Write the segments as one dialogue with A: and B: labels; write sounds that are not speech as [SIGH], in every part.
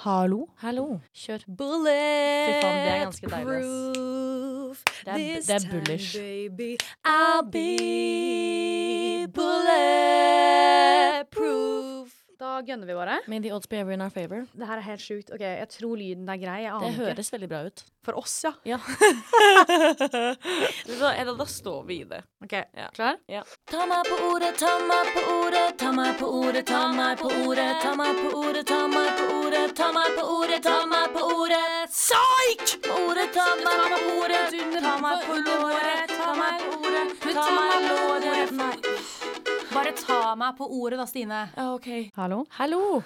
A: Hallo.
B: Hallo. Kjør.
A: Bullet
B: faen, det er ganske deilig, ass.
A: proof.
B: Det er-
A: This
B: det er
A: time,
B: bullish.
A: baby, I'll be bullet proof.
C: Da gønner vi bare.
B: May the odds be ever in our favor.
C: Det her er helt sjukt. Ok, Jeg tror lyden er grei. Jeg
B: Det
C: aner ikke.
B: høres veldig bra ut.
C: For oss, ja.
B: [LAUGHS] Ja. Eller da står vi i det.
C: Ok, Klar?
B: Ta meg på ordet, ta meg på ordet, ta meg på ordet, ta meg på ordet, ta meg på ordet, ta meg på ordet, ta meg på ordet, ta meg på ordet. Psyk! Ordet, ta meg på ordet, ta meg på låret, ta meg på ordet, ta meg på låret. Nei.
D: Bare ta meg på ordet da, Stine.
B: Ja, Ah, ok.
C: Hallo?
B: Hallo!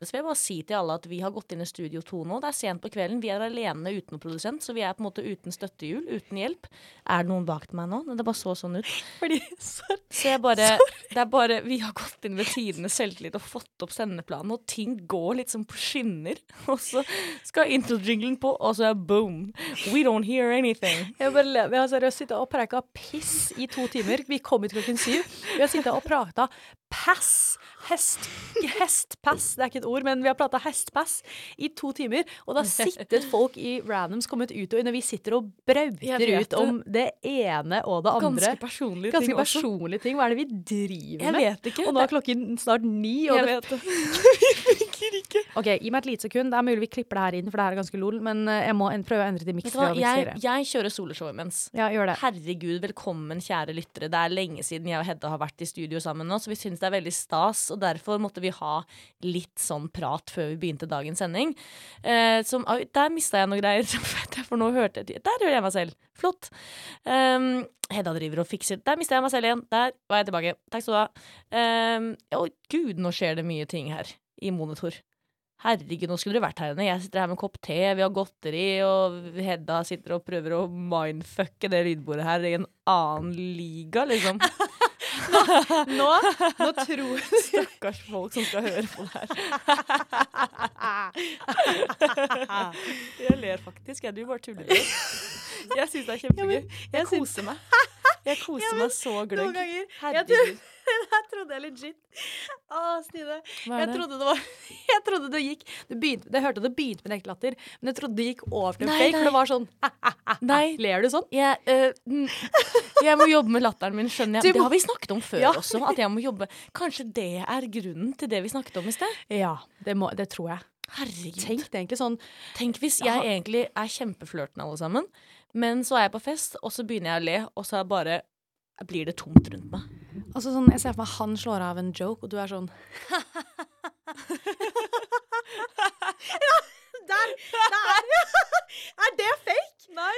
B: Så vil jeg bare si til alle at vi har gått inn i studio to nå. Det er sent på kvelden. Vi er alene uten noen produsent, så vi er på en måte uten støttehjul, uten hjelp. Er det noen bak til meg nå? Nei, Det bare så sånn ut.
A: Fordi, [LAUGHS] sorry.
B: Så jeg bare, det er bare, Vi har gått inn ved tidenes selvtillit og fått opp sendeplanen, og ting går liksom på skinner. [LAUGHS] Og så skal introjinglen på, og så er boom! We don't hear anything.
A: Jeg bare lever. Jeg har seriøst sittet og preika piss i to timer. Vi kom hit klokken syv. Vi har sittet og prata pass. Hest, hestpass, det er ikke et ord, men vi har prata hestpass i to timer. Og det har sittet folk i randoms kommet ut og inn, og vi sitter og
B: Jeg
A: brauter
B: vet
A: ut om det ene og det andre.
B: Ganske personlige
A: Ganske
B: ting også.
A: personlige ting. Hva er det vi driver
B: Jeg
A: med?
B: vet ikke.
A: Og nå er klokken snart ni. Og
B: Jeg
A: det,
B: vet [LAUGHS] det.
C: Ok, Gi meg et lite sekund. Det er mulig vi klipper det her inn, for det her er ganske lol. Men eh, jeg må en prøve å endre til miks.
B: Vet du hva, jeg, jeg kjører soloshow imens.
C: Ja, gjør det.
B: Herregud, velkommen kjære lyttere. Det er lenge siden jeg og Hedda har vært i studio sammen nå, så vi syns det er veldig stas. Og derfor måtte vi ha litt sånn prat før vi begynte dagens sending. Eh, som, au, der mista jeg noe greier, [LAUGHS] som vet jeg, for nå hørte jeg Der hører jeg meg selv. Flott. Um, Hedda driver og fikser. Der mista jeg meg selv igjen. Der var jeg tilbake. Takk skal du ha. Um, Å gud, nå skjer det mye ting her i monitor. Herregud, nå skulle dere vært her inne. Jeg sitter her med en kopp te, vi har godteri, og Hedda sitter og prøver å mindfucke det lydbordet her i en annen liga, [LAUGHS] liksom.
A: nå, [LAUGHS] nå tror
B: Stakkars folk som skal høre på det her. [LAUGHS]
A: Ah,
B: Jeg ler faktisk, jeg. Du bare tuller. Jeg syns det er kjempegøy. Jeg koser [LAUGHS] meg. Jeg koser meg så
A: Noen
B: gløgg.
A: ganger. Jeg tror, [LAUGHS]
B: Herregud.
A: jeg trodde jeg legit Å, Stine.
B: Hva
A: Jeg
B: er det?
A: trodde det var [LAUGHS] Jeg trodde det gikk det begynte, Jeg hørte det begynte med en ekte latter, men jeg trodde det gikk over til en
B: Nei,
A: fake,
B: nei.
A: for det var sånn
B: Nei,
A: Ler du sånn?
B: jeg, øh, mm, jeg må jobbe med latteren min, skjønner jeg.
A: Du
B: Det
A: må-
B: har vi snakket om før
A: Ja.
B: også. At jeg må jobbe Kanskje det er grunnen til det vi snakket om i sted?
A: Ja, det, må, det tror jeg.
B: Herregud. Tenk,
A: Tenk det egentlig sånn
B: hvis jeg egentlig er kjempeflørtende, alle sammen, men så er jeg på fest, og så begynner jeg å le, og så er bare blir det tomt rundt meg.
A: Altså sånn, Jeg ser for meg han slår av en joke, og du er sånn Der! Der! Er det fake? Nei.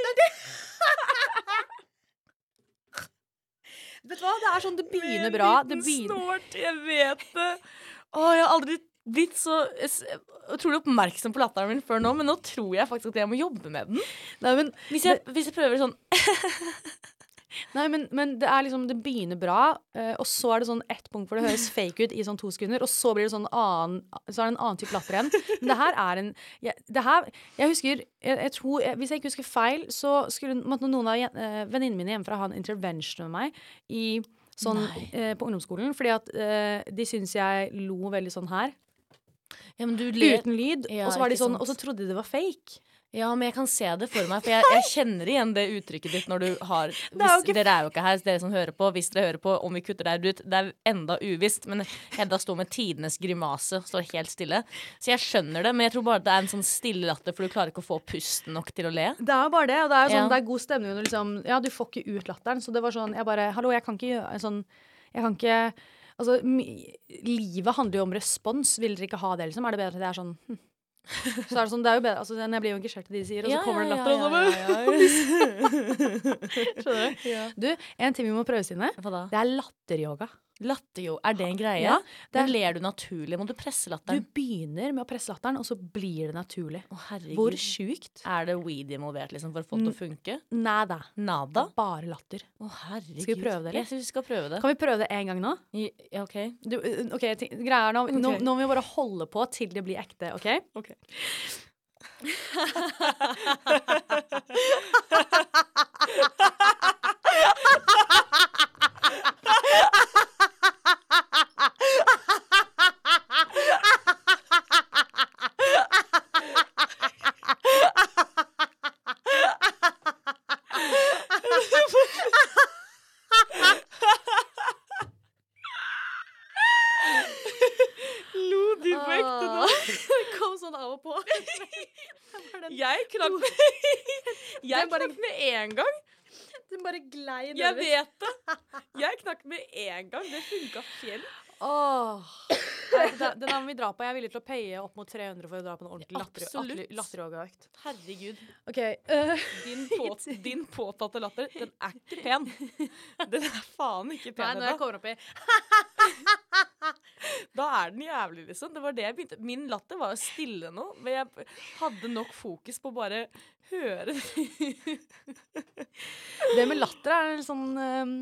A: Vet du hva, det er sånn det begynner bra. Det begynner
B: Snort, jeg vet det. Å, jeg har aldri blitt så s- utrolig oppmerksom på latteren min før nå, men nå tror jeg faktisk at jeg må jobbe med den.
A: Nei, men,
B: Hvis jeg, hvis jeg prøver sånn
A: nei, men, men det er liksom Det begynner bra, eh, og så er det sånn ett punkt hvor det høres fake ut i sånn to sekunder, og så blir det sånn annen Så er det en annen type latter igjen. Men det her er en jeg, det her, jeg husker jeg, jeg tror, jeg, Hvis jeg ikke husker feil, så skulle måtte noen av jen- eh, venninnene mine hjemmefra ha en intervention med meg i Sånn,
B: Nei.
A: eh, på ungdomsskolen, fordi at eh, de syntes jeg lo veldig sånn her.
B: Ja, men du ler
A: Uten lyd.
B: Ja,
A: og så var de
B: ikke
A: sånn,
B: sant.
A: og så trodde de det var fake.
B: Ja, men jeg kan se det for meg, for jeg, jeg kjenner igjen det uttrykket ditt når du har hvis,
A: er jo ikke-
B: Dere er jo ikke her, så dere som hører på. Hvis dere hører på, om vi kutter der ut, det er enda uvisst. Men Hedda står med tidenes grimase, står helt stille. Så jeg skjønner det, men jeg tror bare det er en sånn stille latter, for du klarer ikke å få pusten nok til å le.
A: Det er jo bare det, og det er jo sånn,
B: Ja.
A: det er god stemning. Og du liksom, ja, du får ikke ut latteren. Så det var sånn, jeg bare Hallo, jeg kan ikke gjøre sånn Jeg kan ikke Altså, mi- livet handler jo om respons. Vil dere ikke ha det, liksom? Er det bedre at jeg er sånn hm. Så er det sånn, det er jo bedre Altså, jeg blir jo engasjert i det de sier, og så kommer det latter, og så bare [LAUGHS] Skjønner du? Du, en ting vi må prøve, Stine.
B: [LAUGHS] Hva da?
A: Det er latteryoga.
B: Latterjo, er det en greie?
A: Ja, det er-
B: Men ler du naturlig? Må du presse
A: Du
B: latteren?
A: begynner med å presse latteren, og så blir det naturlig.
B: Å, herregud.
A: Hvor sjukt?
B: Er det weed involvert, liksom, for å få det til å funke?
A: Nada.
B: Nada?
A: Bare latter.
B: Å, herregud.
A: Skal vi prøve det, eller?
B: Jeg syns vi skal prøve det.
A: Kan vi prøve det en gang nå?
B: Ja, OK.
A: Du, uh, ok, ting- greia er nå, nå,
B: Ok.
A: nå må vi bare holde på til det blir ekte, OK?
B: Ok.
A: [LAUGHS] kom sånn av og på.
B: [LAUGHS] Jeg knakk [LAUGHS] Jeg knakk med en gang.
A: Den bare glei
B: Jeg
A: nedover.
B: vet [LAUGHS] det. Jeg knakk med en gang. Det funka fjell.
A: [COUGHS] Åh. Nei, Den den her må vi dra på. Jeg er villig til å paye opp mot 300 for å dra på en ordentlig latter-
B: Absolutt.
A: latter- latteryogaøkt.
B: Herregud.
A: OK. [LAUGHS] øh,
B: [LAUGHS] Din, på, din påtatte latter, den er ikke [LAUGHS] pen. Den er faen ikke
A: nei,
B: pen
A: når jeg
B: ennå.
A: kommer opp i
B: Da er den jævlig, liksom. Det var det jeg begynte. Min latter var jo stille nå, men jeg hadde nok fokus på å bare høre
A: Det med latter er en sånn øhm,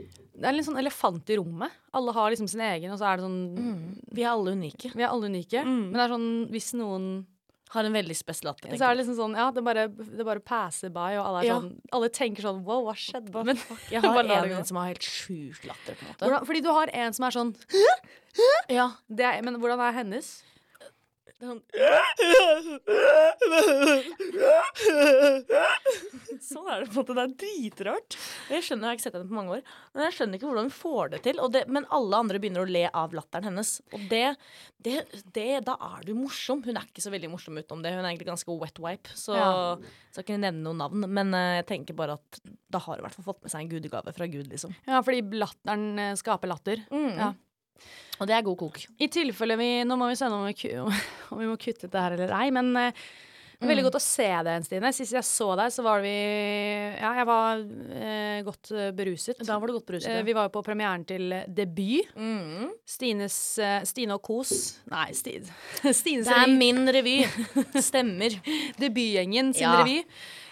A: Det er en litt sånn elefant i rommet. Alle har liksom sin egen, og så er det sånn
B: Vi er alle unike.
A: Vi er alle unike. Men det er sånn hvis noen
B: Har en veldig spes latter.
A: Så er det liksom sånn Ja, det bare, det bare passer by, og alle, er
B: Ja.
A: sånn, alle tenker sånn Wow, hva skjedde? Men,
B: Jeg
A: Bare la det
B: har
A: gå.
B: en som har helt sjuk latter, på en måte.
A: hvordan, fordi du har en som er sånn
B: Ja.
A: det er, Men hvordan er hennes?
B: Sånn Sånn er det på en måte. Det er dritrart. Og jeg skjønner, jeg har ikke sett henne på mange år, men jeg skjønner ikke hvordan hun får det til. Og det, men alle andre begynner å le av latteren hennes. Og det, det, det Da er du morsom. Hun er ikke så veldig morsom utenom det. Hun er egentlig ganske wet wipe, så
A: Ja.
B: skal ikke nevne noe navn. Men eh, jeg tenker bare at da har hun i hvert fall fått med seg en gudegave fra Gud, liksom.
A: Ja, fordi latteren eh, skaper latter. Ja.
B: Og det er god kok.
A: I tilfelle vi Nå må vi se om vi, ku- [LAUGHS] om vi må kutte ut det her eller ei, men eh, det er Veldig godt å se deg igjen, Stine. Sist jeg så deg, så var vi Ja, jeg var eh, godt eh, beruset.
B: Da var du godt beruset.
A: Eh, vi var jo på premieren til eh, debut.
B: Mm.
A: Stines, eh, Stine og Kos [LAUGHS] Nei, Sti, Stines
B: Det er
A: revy.
B: min [LAUGHS] revy. Stemmer.
A: [LAUGHS] Debutgjengen sin
B: Ja.
A: revy.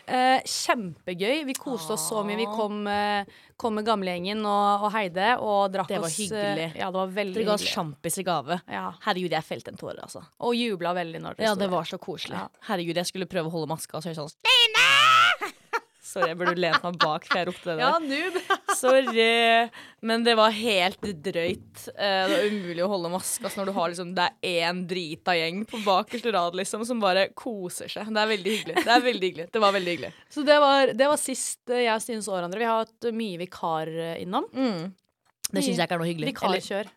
A: Eh, kjempegøy. Vi koste oss så mye. Vi kom, eh, kom med gamlegjengen og, og Heide og drakk
B: Det var
A: oss eh,
B: hyggelig.
A: Ja, det var veldig
B: Dere ga oss
A: hyggelig.
B: sjampis i gave.
A: Ja,
B: Herregud, jeg felte en tåre, altså.
A: og jubla veldig når dere
B: Ja,
A: sto
B: det
A: der.
B: var så koselig.
A: Ja.
B: Herregud, jeg skulle prøve å holde maska, og så hører jeg sånn Stine! [LAUGHS] Sorry, jeg burde lent meg bak, for jeg ropte det der.
A: Ja, noob. [LAUGHS]
B: Sorry. Men det var helt drøyt. Eh, Det var umulig å holde maska altså, når du har liksom Det er én drita gjeng på bakerste rad, liksom, som bare koser seg. Det er veldig hyggelig. Det er veldig hyggelig. Det var veldig hyggelig.
A: Så det var, det var sist eh, jeg og Stine så hverandre. Vi har hatt mye vikar eh, innom.
B: Mm. Det syns jeg ikke er noe hyggelig. Eller,
A: Vikarkjør.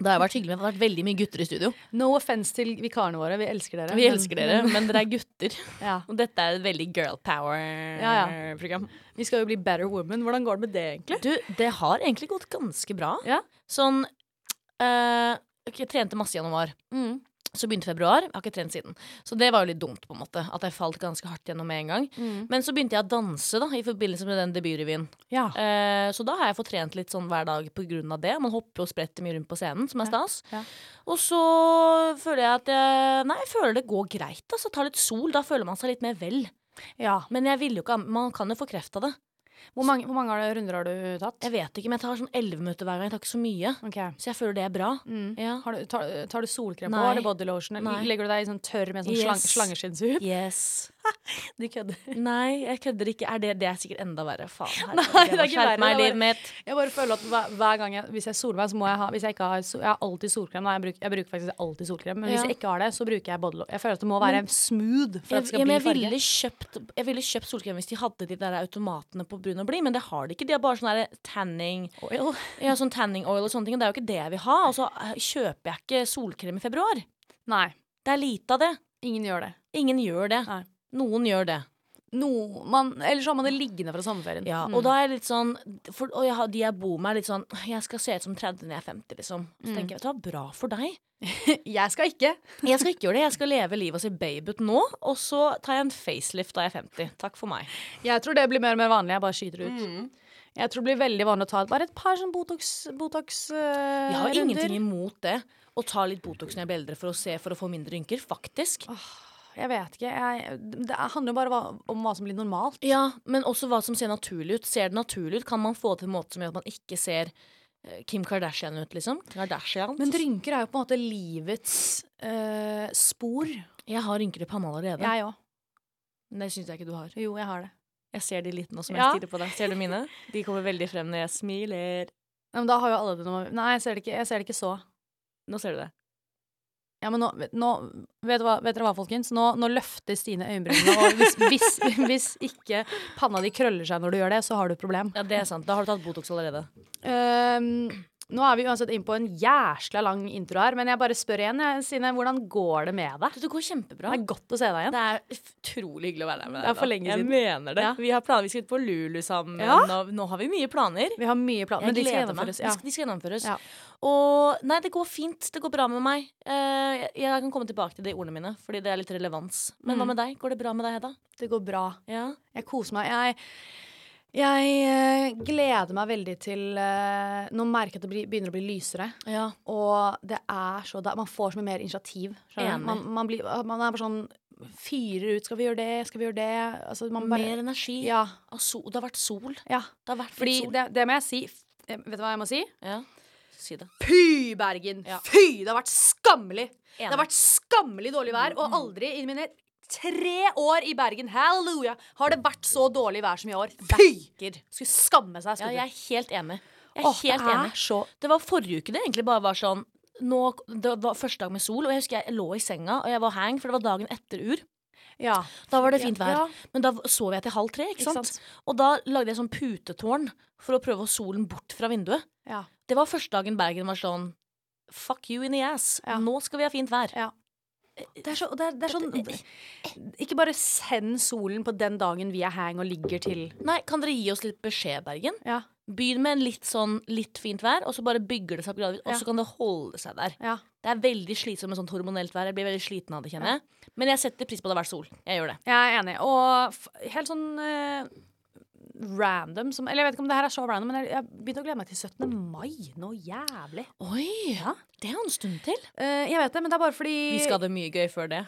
B: det har vært hyggelig, men det har vært veldig mye gutter i studio.
A: No offense til vikarene våre, vi elsker dere.
B: Vi elsker dere, men dere er gutter.
A: Ja.
B: Og dette er et veldig girl
A: Ja,
B: power-program.
A: Vi skal jo bli better women. Hvordan går det med det, egentlig?
B: Du, det har egentlig gått ganske bra.
A: Ja.
B: Sånn eh, ok, Jeg trente masse i januar. Så begynte februar. Jeg har ikke trent siden. Så det var jo litt dumt, på en måte. At jeg falt ganske hardt gjennom med en gang. Men så begynte jeg å danse da, i forbindelse med den debutrevyen.
A: Ja.
B: Eh, så da har jeg fått trent litt sånn hver dag på grunn av det. Man hopper og spretter mye rundt på scenen, som er stas.
A: Ja.
B: Og så føler jeg at jeg Nei, jeg føler det går greit. Altså, ta litt sol. Da føler man seg litt mer vel.
A: ja.
B: Men jeg ville jo ikke ha- Man kan jo få kreft av det.
A: Hvor mange, hvor mange har du- runder har du tatt?
B: Jeg vet ikke, men jeg tar sånn 11 minutter hver gang. Jeg tar ikke så mye.
A: Ok.
B: Så jeg føler det er bra.
A: Mm.
B: Ja. [LAUGHS]
A: Har du, tar, tar du solkrem på?
B: Nei.
A: Har du body lotion? Eller
B: Nei.
A: Legger du deg i sånn tørr med sånn
B: Yes.
A: slang, slangeskinnshup?
B: [LAUGHS] Yes.
A: Du kødder.
B: Nei, jeg kødder ikke. Er det, det er sikkert enda verre. [LAUGHS] Faen. herregud,
A: Nei, det
B: jeg
A: er
B: må
A: ikke verre,
B: skjerpe
A: det
B: meg i
A: er
B: livet mitt.
A: [LAUGHS] Jeg bare føler at hver, hver gang jeg, hvis jeg soler meg, så må jeg ha Hvis jeg ikke har sol, Jeg har alltid solkrem. Nei, jeg, bruker, jeg bruker faktisk alltid solkrem. Men hvis
B: Ja.
A: jeg ikke har det, så bruker jeg body lotion. Jeg føler at det må være smooth for
B: Jeg,
A: at det
B: ja,
A: skal
B: men
A: bli
B: jeg,
A: farge.
B: ville kjøpt, jeg ville kjøpt solkrem hvis de hadde de der automatene på brun og blid, men det har de ikke. De har bare sånn der tanning
A: Oil.
B: Ja, sånn tanning oil og sånne ting. Og det er jo ikke det jeg vil ha. Og så eh, kjøper jeg ikke solkrem i februar.
A: Nei.
B: Det er lite av det.
A: Ingen gjør det.
B: Ingen gjør det.
A: Nei.
B: Noen gjør det.
A: No, man, eller så har man det liggende fra sommerferien.
B: Ja,
A: Mm.
B: Og da er jeg litt sånn for, Og jeg har, de jeg bor med, er litt sånn Jeg skal se ut som 30 når jeg er 50, liksom.
A: Mm.
B: Så tenker jeg, vet du hva, bra for deg.
A: [LAUGHS] Jeg skal ikke.
B: Jeg skal ikke gjøre det. Jeg skal leve livet og se babe ut nå. Og så tar jeg en facelift da jeg er 50. Takk for meg.
A: Jeg tror det blir mer og mer vanlig. Jeg bare skyter ut. Jeg tror det blir veldig vanlig å ta bare et par sånn Botox-runder. Botox,
B: Jeg
A: uh,
B: har ingenting imot det. Å ta litt Botox når jeg blir eldre for å se for å få mindre rynker. Faktisk.
A: Ah. jeg vet ikke. Jeg, det handler jo bare hva- om hva som blir normalt.
B: Ja, men også hva som ser naturlig ut. Ser det naturlig ut, kan man få det til en måte som gjør at man ikke ser eh, Kim Kardashian ut, liksom. Kardashian.
A: Men rynker er jo på en måte livets eh, spor.
B: jeg har rynker i panna allerede.
A: Jeg òg.
B: Men Det syns jeg ikke du har.
A: Jo, jeg har det.
B: Jeg ser de litt nå som
A: Ja.
B: jeg stirrer på deg. Ser du mine? De kommer veldig frem når jeg smiler.
A: Nei, men da har jo alle det når Nei, jeg ser det ikke, jeg ser det ikke så.
B: Nå ser du det.
A: Ja, men nå, nå vet, du hva, vet dere hva, folkens? Nå, nå løfter Stine øyenbrynene, og hvis, hvis, [LAUGHS] hvis ikke panna di krøller seg når du gjør det, så har du et problem.
B: Ja, det er sant. Da har du tatt Botox allerede.
A: Ehm, Nå er vi uansett inne på en jæsla lang intro her, men jeg bare spør igjen, jeg, Sine, hvordan går det med deg?
B: Det går kjempebra.
A: Det er godt å se deg igjen.
B: Det er utrolig hyggelig å være der med deg.
A: Det er for
B: da.
A: lenge siden.
B: Jeg mener det.
A: Ja.
B: Vi har planer. Vi skal ut på Lulu sammen.
A: Ja.
B: Og nå har vi mye planer.
A: Vi har mye planer, men de skal gjennomføres.
B: Ja.
A: Ja.
B: De skal gjennomføres.
A: Ja.
B: Og nei, det går fint. Det går bra med meg. Eh, jeg, jeg kan komme tilbake til det i ordene mine, fordi det er litt relevans. Men hva med deg? Går det bra med deg, Hedda?
A: Det går bra.
B: Mm. Ja.
A: Jeg koser meg. Jeg, jeg eh, gleder meg veldig til eh, Nå merker jeg at det blir, begynner å bli lysere.
B: ja.
A: Og det er så da, Man får så mye mer initiativ. skjønner du?
B: Enig.
A: Man, man, blir, man er bare sånn Fyrer ut. Skal vi gjøre det? Skal vi gjøre det? Altså, man bare,
B: Mer energi.
A: Ja.
B: Av sol- det har vært sol.
A: ja.
B: Det har vært
A: Fordi
B: litt sol.
A: det, det må jeg si. F- eh, Vet du hva jeg må si?
B: Ja. Si det.
A: Fy, Bergen! Fy! Det har vært skammelig! Det har
B: Enig.
A: vært skammelig dårlig vær, og aldri i mine tre år i Bergen, halleluja, har det vært så dårlig vær som i år. Fy! Skulle skamme seg.
B: Ja,
A: Skulle
B: jeg er helt enig. Jeg er
A: Åh,
B: helt
A: det er
B: enig. Det var forrige uke det egentlig bare var sånn nå, Det var første dag med sol, og jeg husker jeg lå i senga og jeg var hang, for det var dagen etter ur.
A: Ja.
B: Da var det fint vær.
A: Ja.
B: Men da sov jeg til halv tre, ikke
A: Ikke
B: sant?
A: sant.
B: Og da lagde jeg sånn putetårn for å prøve å solen bort fra vinduet.
A: Ja.
B: Det var første dagen Bergen var sånn Fuck you in the ass.
A: Ja.
B: Nå skal vi ha fint vær.
A: Ja. Det er, så, det, er, det er sånn Ikke bare send solen på den dagen vi er hang og ligger til
B: Nei, kan dere gi oss litt beskjed, Bergen?
A: Ja.
B: Begynn med en litt sånn litt fint vær, og så bare bygger det seg opp gradvis, og
A: Ja.
B: så kan det holde seg der.
A: ja.
B: Det er veldig slitsomt med sånt hormonelt vær. Jeg blir veldig sliten av det, kjenner jeg. Men jeg setter pris på at det har vært sol. Jeg gjør det.
A: Jeg er enig. Og f helt sånn eh, random som Eller jeg vet ikke om det her er så random, men jeg, jeg begynte å glede meg til 17. mai. Noe jævlig.
B: Oi! Det er en stund til.
A: Eh, jeg vet det, men det er bare fordi
B: Vi skal ha det mye gøy før det.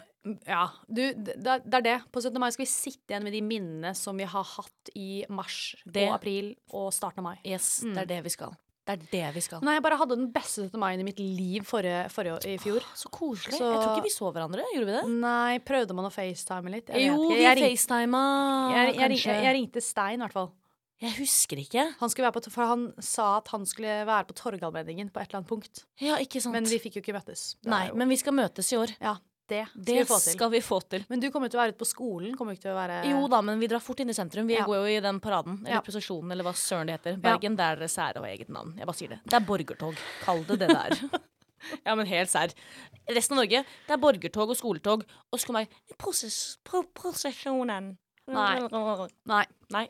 A: Ja, du, det, det er- det er det. På 17. mai skal vi sitte igjen med de minnene som vi har hatt i mars
B: Det-
A: og april og starten av mai.
B: Yes, det er det vi skal. Det er det vi skal.
A: Nei, jeg bare hadde den beste 17. maien i mitt liv forrige, forrige, i fjor.
B: Så koselig.
A: Så-
B: Jeg tror ikke vi så hverandre. Gjorde vi det?
A: Nei, prøvde man å facetime litt? Jeg
B: jo,
A: vet ikke.
B: vi
A: jeg, ringte,
B: facetima.
A: jeg, jeg,
B: kanskje.
A: jeg, jeg ringte Stein, i hvert fall.
B: Jeg husker ikke.
A: Han, skulle være på, for han sa at han skulle være på Torgallmenningen på et eller annet punkt.
B: Ja, ikke sant.
A: Men vi fikk jo ikke møttes. Det
B: Nei,
A: er jo-
B: men vi skal møtes i år.
A: ja, det skal
B: Det
A: vi få til.
B: skal vi få til.
A: Men du kommer jo til å være ute på skolen? Kommer jo ikke til å være
B: Jo da, men vi drar fort inn i sentrum. Vi
A: Eh, Ja.
B: går jo i den paraden, eller
A: Ja.
B: prosesjonen, eller hva søren det heter.
A: Ja.
B: Bergen, det er deres sære og eget navn. Jeg bare sier det. Det er borgertog. Kall det det det
A: [LAUGHS]
B: er. ja, men helt sær. Resten av Norge, det er borgertog og skoletog, og så kommer jeg proses, pro, Prosesjonen.
A: Nei. Nei.
B: Nei.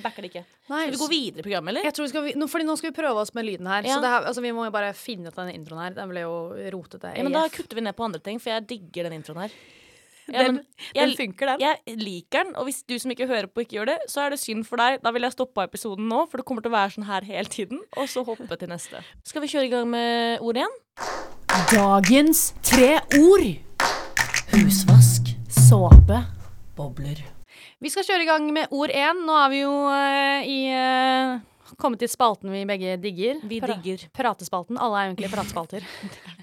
B: Backer det ikke.
A: Nei,
B: Skal vi gå videre i programmet, eller?
A: Jeg tror vi skal, vi- nå, fordi nå skal vi prøve oss med lyden her.
B: Ja.
A: Så det her, altså, vi må jo bare finne ut av den introen her. Den ble jo rotete.
B: Ja, men da
A: AF.
B: kutter vi ned på andre ting, for jeg digger den introen her. Ja,
A: Den-
B: men jeg,
A: den funker, den.
B: Jeg liker den, og hvis du som ikke hører på, ikke gjør det, så er det synd for deg. Da vil jeg stoppe episoden nå, for det kommer til å være sånn her hele tiden, og så hoppe til neste. Skal vi kjøre i gang med ordet igjen?
D: Dagens tre ord.
B: Husvask,
D: Såpe.
B: bobler.
A: Vi skal kjøre i gang med ord én. Nå er vi jo eh, i eh, Kommet til spalten vi begge digger.
B: Vi
A: Pra-
B: digger.
A: Pratespalten. Alle er jo egentlig pratespalter.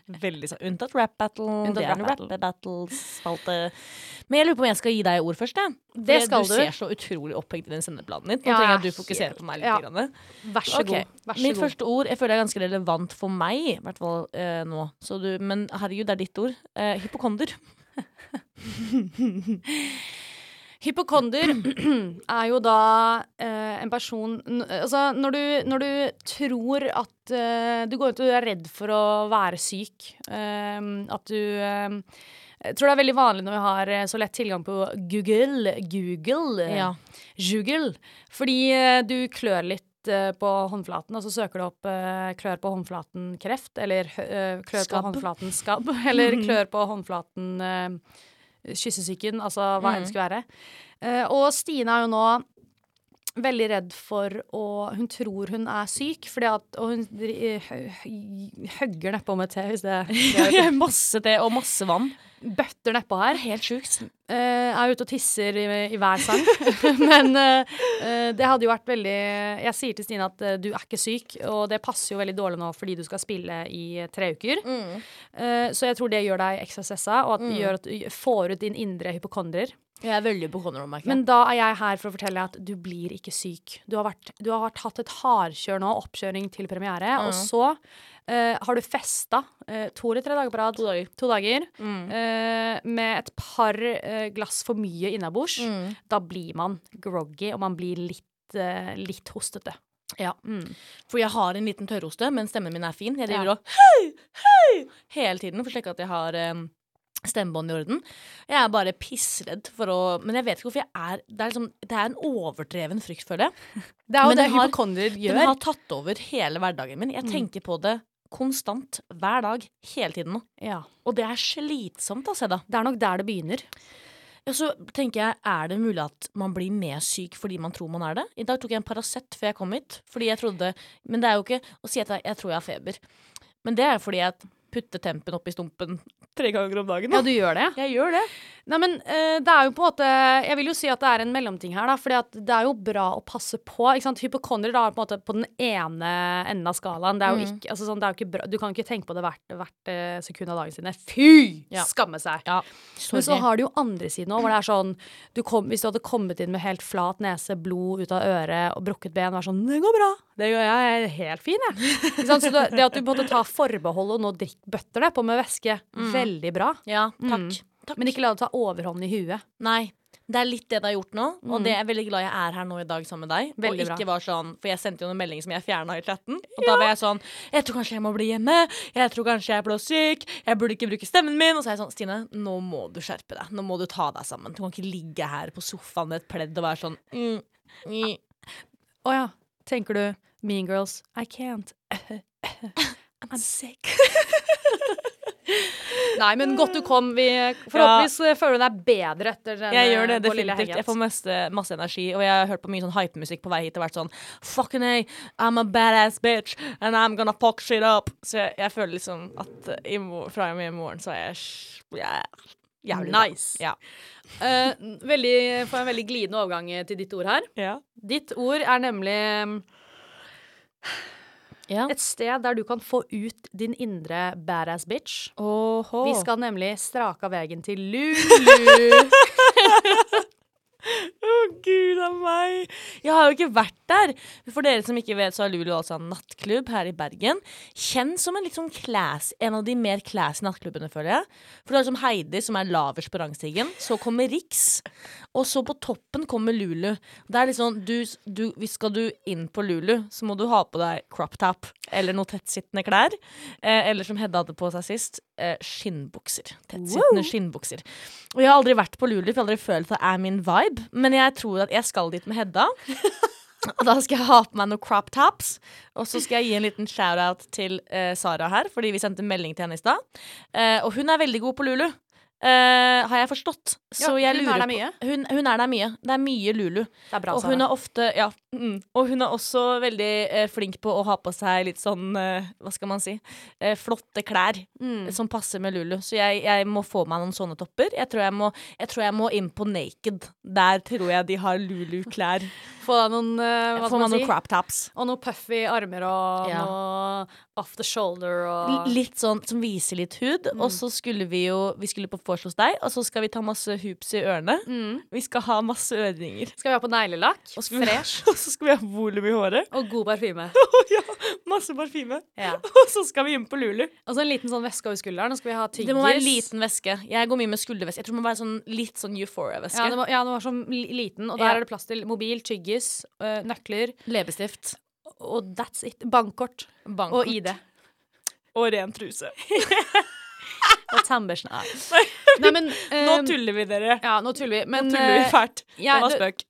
B: Veldig sånn. Unntatt rap battle.
A: Unntatt
B: det er en
A: rap
B: rap battle-spalte. Men jeg lurer på om jeg skal gi deg ord først, jeg. For
A: Det skal
B: du.
A: du.
B: ser så utrolig opphengt i den sendeplanen din. Nå
A: Ja,
B: trenger jeg at du fokuserer
A: helt-
B: på meg litt.
A: ja.
B: Grann.
A: Vær så
B: Ok,
A: god. Vær så
B: Mitt
A: god.
B: første ord jeg føler er ganske relevant for meg, i hvert fall eh, nå. Så du, men herregud, det er ditt ord. Eh, hypokonder.
A: Hypokonder [CLEARS THROAT] er jo da eh, en person n Altså, når du, når du tror at eh, Du går ut og er redd for å være syk. eh, at du eh, jeg tror det er veldig vanlig når vi har eh, så lett tilgang på Google. Google. eh,
B: [LAUGHS] Ja.
A: Google. Fordi eh, du klør litt eh, på håndflaten, og så søker du opp eh, klør på håndflaten kreft, eller eh, klør
B: Skabb.
A: på håndflaten skabb, [LAUGHS] eller klør på håndflaten eh, kyssesyken, altså hva enn det skulle være. Eh, og Stine er jo nå veldig redd for å Hun tror hun er syk, fordi at, og hun dri- hø- hø- hugger nedpå med te, hvis det, det
B: masse te og masse vann.
A: Bøtter nedpå her.
B: Helt sjukt.
A: Eh, er ute og tisser i, i hver sang. [LAUGHS] Men eh, eh, det hadde jo vært veldig Jeg sier til Stine at eh, du er ikke syk, og det passer jo veldig dårlig nå fordi du skal spille i eh, tre uker.
B: Mm.
A: Eh, så jeg tror det gjør deg ekstra stressa, og at gjør at du får ut din indre hypokonder.
B: Jeg er veldig hypokonder om meg.
A: Men da er jeg her for å fortelle at du blir ikke syk. Du har, vært, du har vært, hatt et hardkjør nå, oppkjøring til premiere, og så eh, har du festa eh, to eller tre dager på rad. To dager.
B: Mm.
A: eh, med et par eh, glass for
B: Mm.
A: Mm. mye innabords. Da blir man groggy, og man blir litt, eh, litt hostete. Ja.
B: For jeg har en liten tørroste, men stemmen min er fin. Jeg driver
A: Ja.
B: og hei, hei, hele tiden for å sjekke at jeg har um, stemmebåndet i orden. Jeg er bare pissredd for å Men jeg vet ikke hvorfor jeg er Det er, liksom, det er en overdreven frykt, føler jeg.
A: Det er jo det
B: Men den har-
A: hypokonder
B: Den
A: gjør.
B: har tatt over hele hverdagen min. Jeg tenker på det konstant hver dag, hele tiden nå.
A: Ja.
B: Og det er slitsomt, altså, Edda.
A: Det er nok der det begynner.
B: Og så tenker jeg, er det mulig at man blir mer syk fordi man tror man er det? I dag tok jeg en Paracet før jeg kom hit, fordi jeg trodde Men det er jo ikke å si at jeg, jeg tror jeg har feber. Men det er fordi jeg putter tempen opp i stumpen tre ganger om dagen.
A: Ja,
B: da.
A: du gjør det.
B: Jeg gjør det.
A: Nei, men eh, det er jo på en måte Jeg vil jo si at det er en mellomting her, da. For det er jo bra å passe på. ikke sant? Hypokondere da, er på en måte på den ene enden av skalaen. Det er jo ikke, altså, sånn, det er jo ikke bra. Du kan ikke tenke på det hvert, hvert eh, sekund av dagen sine. Fy!
B: Ja.
A: Skamme seg.
B: Ja,
A: Men så har du jo andre siden òg, hvor det er sånn du kom, Hvis du hadde kommet inn med helt flat nese, blod ut av øret og brukket ben, vær sånn 'Det går bra. Det gjør jeg. Jeg er helt fin, jeg.' Ikke sant? Så det, det at du måtte ta forbehold og nå drikk, bøtter deg på med væske, veldig bra.
B: Ja, takk. takk.
A: Men ikke la det ta overhånd i huet.
B: Nei. Det er litt det det har gjort nå, og det er jeg veldig glad jeg er her nå i dag sammen med deg.
A: Mm. Veldig
B: og
A: bra.
B: ikke var sånn, For jeg sendte jo en melding som jeg fjerna i chatten, og da var jeg sånn Jeg tror kanskje jeg må bli hjemme, jeg tror kanskje jeg er blåsyk, jeg burde ikke bruke stemmen min. Og så er jeg sånn Stine, nå må du skjerpe deg. Nå må du ta deg sammen. Du kan ikke ligge her på sofaen med et pledd og være sånn mm, mm.
A: Å ja. Tenker du Mean Girls, I can't. I'm sick. Nei, men godt du kom. Vi forhåpentligvis eh, føler du deg bedre etter denne
B: Jeg gjør det
A: vår lille
B: definitivt. Jeg
A: hangout.
B: får masse, masse energi, og jeg har hørt på mye sånn hypemusikk på vei hit og vært sånn Fucking A, I'm a badass bitch, and I'm gonna fuck shit up. Så jeg, jeg føler liksom at eh, i, mor- fra og med i morgen så er jeg, sj- jeg er jævlig bra.
A: Nice.
B: Ja.
A: Eh, veldig, får en veldig glidende overgang eh, til ditt ord her.
B: Ja.
A: Ditt ord er nemlig mm,
B: Ja.
A: et sted der du kan få ut din indre badass bitch.
B: Åhå.
A: Vi skal nemlig strake av veien til Lulu.
B: Å, gud a meg! Jeg har jo ikke vært der. For dere som ikke vet, så har Lulu altså en nattklubb her i Bergen. Kjent som en litt sånn class, en av de mer classy nattklubbene, føler jeg. For du har liksom Heidi, som er laverst på rangstigen. Så kommer Rix. Og så på toppen kommer Lulu. Det er liksom, du, du, hvis Skal du inn på Lulu, så må du ha på deg crop top eller noe tettsittende klær. Eh, eller som Hedda hadde på seg sist, eh, skinnbukser. Tettsittende skinnbukser. Og jeg har aldri vært på Lulu, for jeg har aldri følt at det er min vibe. Men jeg tror at jeg skal dit med
A: [LAUGHS]
B: Hedda. Og da skal jeg ha på meg noen crop tops. Og så skal jeg gi en liten shout-out til eh, Sara her, fordi vi sendte melding til henne i stad. Eh, og hun er veldig god på Lulu. eh, har jeg forstått. Så
A: Ja, hun
B: jeg
A: er
B: lurer
A: der
B: på-
A: mye.
B: Hun, hun er der mye. Det er mye Lulu.
A: Det er bra,
B: Og
A: Sara.
B: hun er ofte Ja. Mm, og hun er også veldig eh, flink på å ha på seg litt sånn eh, Hva skal man si? Eh, flotte klær eh,
A: Mm.
B: som passer med Lulu. Så jeg, jeg må få meg noen sånne topper. Jeg tror jeg må, jeg tror jeg må inn på Naked. Der tror jeg de
A: [LAUGHS]
B: har Lulu-klær.
A: Få deg noen eh, hva
B: Får
A: skal
B: man
A: man si?
B: noen crop tops.
A: Og noe puffy armer og
B: Ja.
A: noe off the shoulder og
B: L- Litt sånn som viser litt hud.
A: Mm.
B: Og så skulle vi jo Vi skulle på vors hos deg, og så skal vi ta masse hoops i ørene.
A: Mm.
B: Vi skal ha masse øringer.
A: Skal vi ha på neglelakk?
B: Og så- og så skal vi ha [LAUGHS] volum i håret.
A: [LAUGHS] Og god parfyme. [LAUGHS]
B: Og ja, masse parfyme.
A: Ja.
B: [LAUGHS] Og så skal vi inn på Lulu.
A: Og så en liten sånn veske over skulderen. Og skal vi ha tyggis.
B: Det må være en liten væske. Jeg går mye med skuldervæske. Jeg tror det må være sånn, litt sånn Euphoria-væske.
A: Ja, det må, ja, den var sånn li- liten, og der
B: Ja.
A: er det plass til mobil, tyggis, øh, nøkler,
B: Leppestift.
A: og that's it. Bankkort og
B: Bankkort.
A: ID.
B: Og ren truse.
A: Og tannbørsten. [LAUGHS] Nei. Nei, men
B: Nå
A: øhm,
B: tuller vi, dere.
A: Ja, nå tuller vi. Men
B: Nå tuller vi
A: øh,
B: fælt.
A: jeg-
B: eh, det var
A: det-
B: spøk.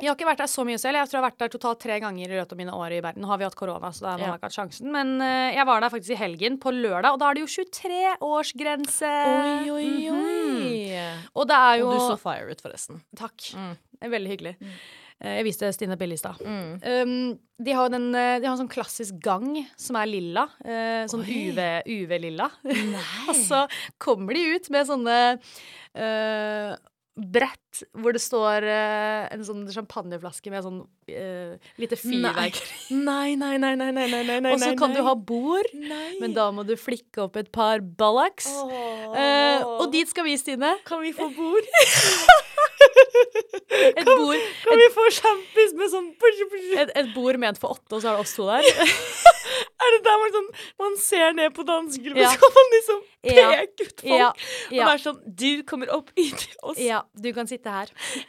A: Jeg har ikke vært der så mye selv. Jeg tror jeg har vært der totalt tre ganger i løpet av mine år i verden. Nå har vi hatt korona, så da har man
B: Ja.
A: ikke hatt sjansen. Men eh, jeg var der faktisk i helgen, på lørdag, og da er det jo 23-årsgrense.
B: oi, oi.
A: Mhm. Og det er jo
B: Eh, Mhm. Og du så Mm. fire ut, forresten.
A: Takk. Det er veldig hyggelig. Eh, Jeg viste Stine bilde i stad.
B: Mm.
A: Um, de har jo den, eh, de har en sånn klassisk gang som er lilla. eh, sånn UV UV-lilla. og så kommer de ut med sånne eh, brett hvor det står eh, en sånn champagneflaske med sånn eh, lite fyrverkeri.
B: Nei, nei, nei, nei, nei, nei, nei, nei.
A: Og så kan du ha bord,
B: Nei.
A: men da må du flikke opp et par ballaks. Eh, og dit skal vi, Stine.
B: Kan vi få bord?
A: Et bord,
B: Kan vi få sjampis med sånn
A: et, et bord ment for åtte, og så er det oss to der.
B: Er det der man, sånn, man ser ned på dansegulvet,
A: Ja.
B: så kan man liksom
A: Ja.
B: peke ut folk?
A: Ja,
B: Og
A: ja.
B: være sånn Du kommer opp hit til oss.
A: Ja, du kan sitte her.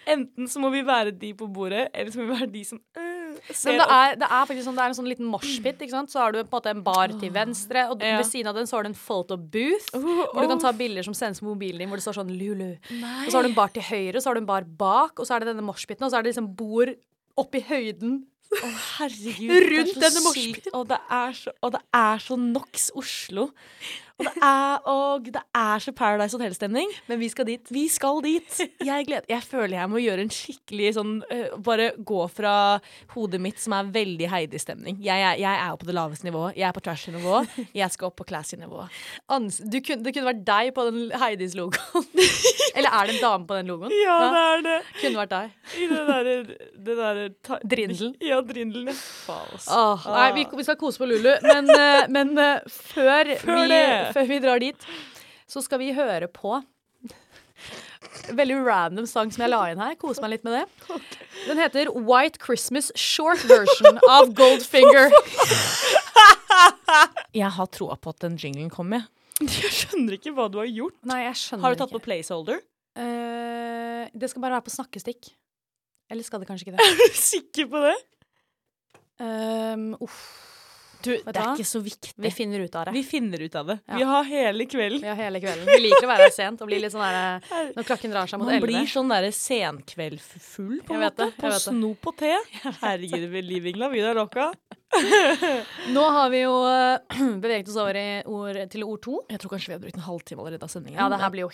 B: Enten så må vi være de på bordet, eller så må vi være de som øh,
A: Men
B: ser
A: det
B: opp.
A: er, det er faktisk sånn, det er en sånn liten moshpit. ikke sant? Så har du på en måte en bar til venstre, og
B: Ja.
A: ved siden av den så har du en photo booth. Hvor du kan ta bilder som sendes på mobilen din, hvor det står sånn Lulu. Og så har du en bar til høyre, så har du en bar bak, og så er det denne moshpiten, og så er det liksom bord oppi høyden.
B: Å, herregud.
A: Rundt
B: det er så
A: denne moshpiten.
B: sykt, Og det er så, og det er så NOx Oslo. Og det er, og det er så Paradise Hotel-stemning. Men vi skal dit. Vi skal dit. Jeg, gleder, jeg føler jeg må gjøre en skikkelig sånn øh, Bare gå fra hodet mitt, som er veldig Heidi-stemning. Jeg, er- jeg er jo på det laveste nivået. Jeg er på trashy-nivå. Jeg skal opp på classy-nivå.
A: Ans du kunne, det kunne vært deg på den Heidis-logoen. [LAUGHS] Eller er det en dame på den logoen?
B: er det.
A: Kunne vært deg.
B: I det derre
A: Drindelen.
B: Ja, drindelen. ja. Faen, altså.
A: Åh, nei, vi, vi skal kose på Lulu, men, eh, men eh, før,
B: Før
A: vi,
B: det.
A: før vi drar dit, så skal vi høre på Veldig random sang som jeg la inn her. Kose meg litt med det. Den heter White Christmas Short Version av Goldfinger.
B: Jeg har troa på at den jinglen kommer. [LAUGHS] Jeg skjønner ikke hva du har gjort.
A: Nei, jeg skjønner
B: Har du tatt
A: ikke.
B: på placeholder?
A: Eh, det skal bare være på snakkestikk. Eller skal det kanskje ikke [LAUGHS] det?
B: Er du [LAUGHS] sikker på det?
A: Um, uff.
B: Du,
A: du
B: det er
A: hva?
B: ikke så viktig.
A: Vi finner ut av det.
B: Vi finner ut av det.
A: Ja.
B: Vi har hele kvelden.
A: Vi har hele kvelden. Vi liker å være her sent og bli litt sånn der eh, når klokken drar seg mot
B: Man blir
A: elleve.
B: sånn derre senkveldfull, på
A: Jeg
B: en
A: vet
B: måte.
A: det, jeg
B: På
A: vet det.
B: snop [LAUGHS] og te. Herregud, ved liv, Ingla. Vi er lokka.
A: Nå har vi jo eh, [CLEARS THROAT] beveget oss over i ord, til ord to.
B: Jeg tror kanskje vi har brukt en halvtime allerede av sendingen.
A: Ja, det her blir jo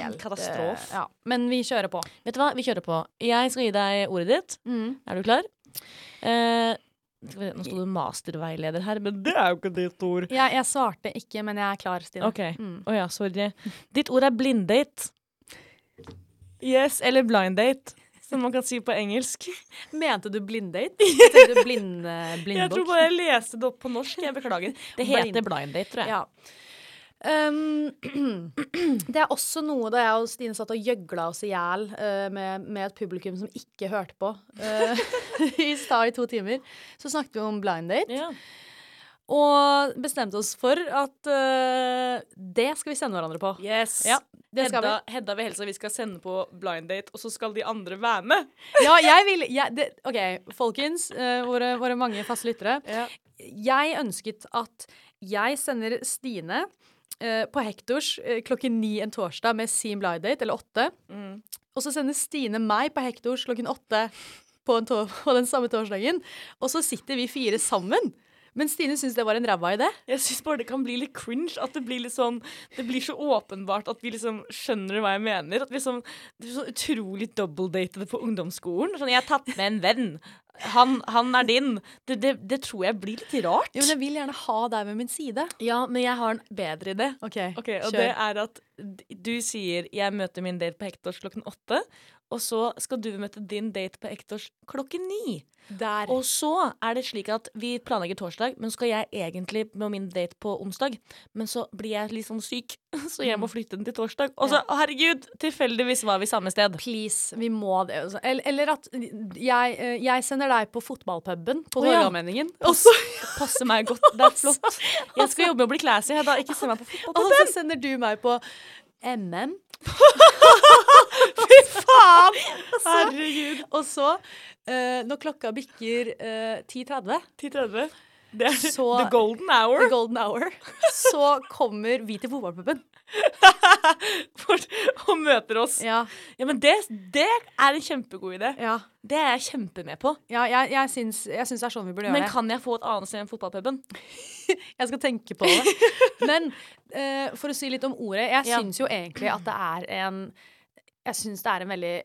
A: helt
B: Katastrof.
A: eh, Ja. Men vi kjører på.
B: Vet du hva, vi kjører på. Jeg skal gi deg ordet ditt.
A: Mm.
B: Er du klar? Eh, skal vi se, nå sto det masterveileder her, men det er jo ikke ditt ord.
A: Jeg, jeg svarte ikke, men jeg er klar, Stine. Mm.
B: Ok. Å ja, sorry. Ditt ord er blinddate. Yes, eller blind date, som man kan si på engelsk.
A: Mente du blinddate? Tenkte du [LAUGHS] blind, eh,
B: Jeg tror
A: blindbok?
B: bare jeg leste det opp på norsk. Jeg beklager. Det heter
A: Blind.
B: blind date, tror jeg.
A: Ja. Um, [CLEARS THROAT] det er også noe da jeg og Stine satt og gjøgla oss i hjel eh, med, med et publikum som ikke hørte på eh, [LAUGHS] i stad i to timer. Så snakket vi om blind date,
B: Ja.
A: og bestemte oss for at eh, det skal vi sende hverandre på.
B: Yes.
A: Ja, det skal vi.
B: Hedda, Hedda vil helst at vi skal sende på blind date, og så skal de andre være med.
A: Ja, jeg vil jeg, det, OK, folkens, eh, våre, våre mange faste lyttere. Jeg ønsket at jeg sender Stine eh, på Hektors eh, klokken ni en torsdag med Seam Blind Date, eller åtte.
B: Mm.
A: Og så sender Stine meg på Hektors klokken åtte på, en to på den samme torsdagen. Og så sitter vi fire sammen. Men Stine syns det var en ræva idé.
B: Jeg syns bare det kan bli litt cringe. At det blir litt sånn Det blir så åpenbart at vi liksom skjønner hva jeg mener. At vi sånn Det blir så utrolig doubledate på ungdomsskolen. Sånn, 'Jeg har tatt med en venn. Han, han er din.' Det, det, det tror jeg blir litt rart.
A: Jo, men jeg vil gjerne ha deg ved min side.
B: Ja, men jeg har en bedre idé.
A: OK,
B: Ok, Og det er at d- du sier 'jeg møter min date på Hektors klokken åtte', og så skal du møte din date på Hektors klokken ni.
A: Der.
B: Og så er det slik at vi planlegger torsdag, men så skal jeg egentlig med min date på onsdag. Men så blir jeg litt sånn syk, [LAUGHS] så jeg må flytte den til torsdag. Og så, å, herregud, tilfeldigvis var vi samme sted.
A: Please, vi må det. altså. Eller, eller at jeg, eh, jeg sender deg på fotballpuben på
B: Å, ja.
A: Torgallmenningen. Og
B: Pass-
A: så
B: Passer meg godt. Det er flott. Jeg skal jobbe med å bli classy, Hedda. Ikke send meg på
A: Og
B: fotball.
A: så sender du meg på [LAUGHS] MM.
B: Faen! Herregud.
A: Og så, eh, når klokka bikker eh, 10.30,
B: 10.30. Det er
A: Så-
B: the golden hour.
A: the golden [LAUGHS] hour, så kommer vi til fotballpuben.
B: for- og møter oss. Ja,
A: Ja,
B: men det, det er en kjempegod idé.
A: ja,
B: Det er jeg kjempemed på.
A: ja jeg, jeg, syns, jeg syns det er sånn vi burde gjøre
B: Men
A: det.
B: kan jeg få et annet sted enn fotballpuben?
A: Jeg skal tenke på det. [LAUGHS] Men eh, for å si litt om ordet, jeg
B: Ja.
A: syns jo egentlig at det er en Jeg syns det er en veldig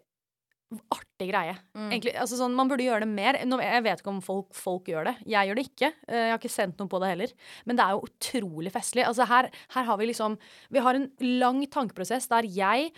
A: artig greie.
B: Mm,
A: Egentlig, altså sånn, man burde gjøre det mer. Nå, jeg vet ikke om folk, folk gjør det. Jeg gjør det ikke. Eh, Jeg har ikke sendt noe på det heller. Men det er jo utrolig festlig. Altså her, her har vi liksom Vi har en lang tankeprosess der jeg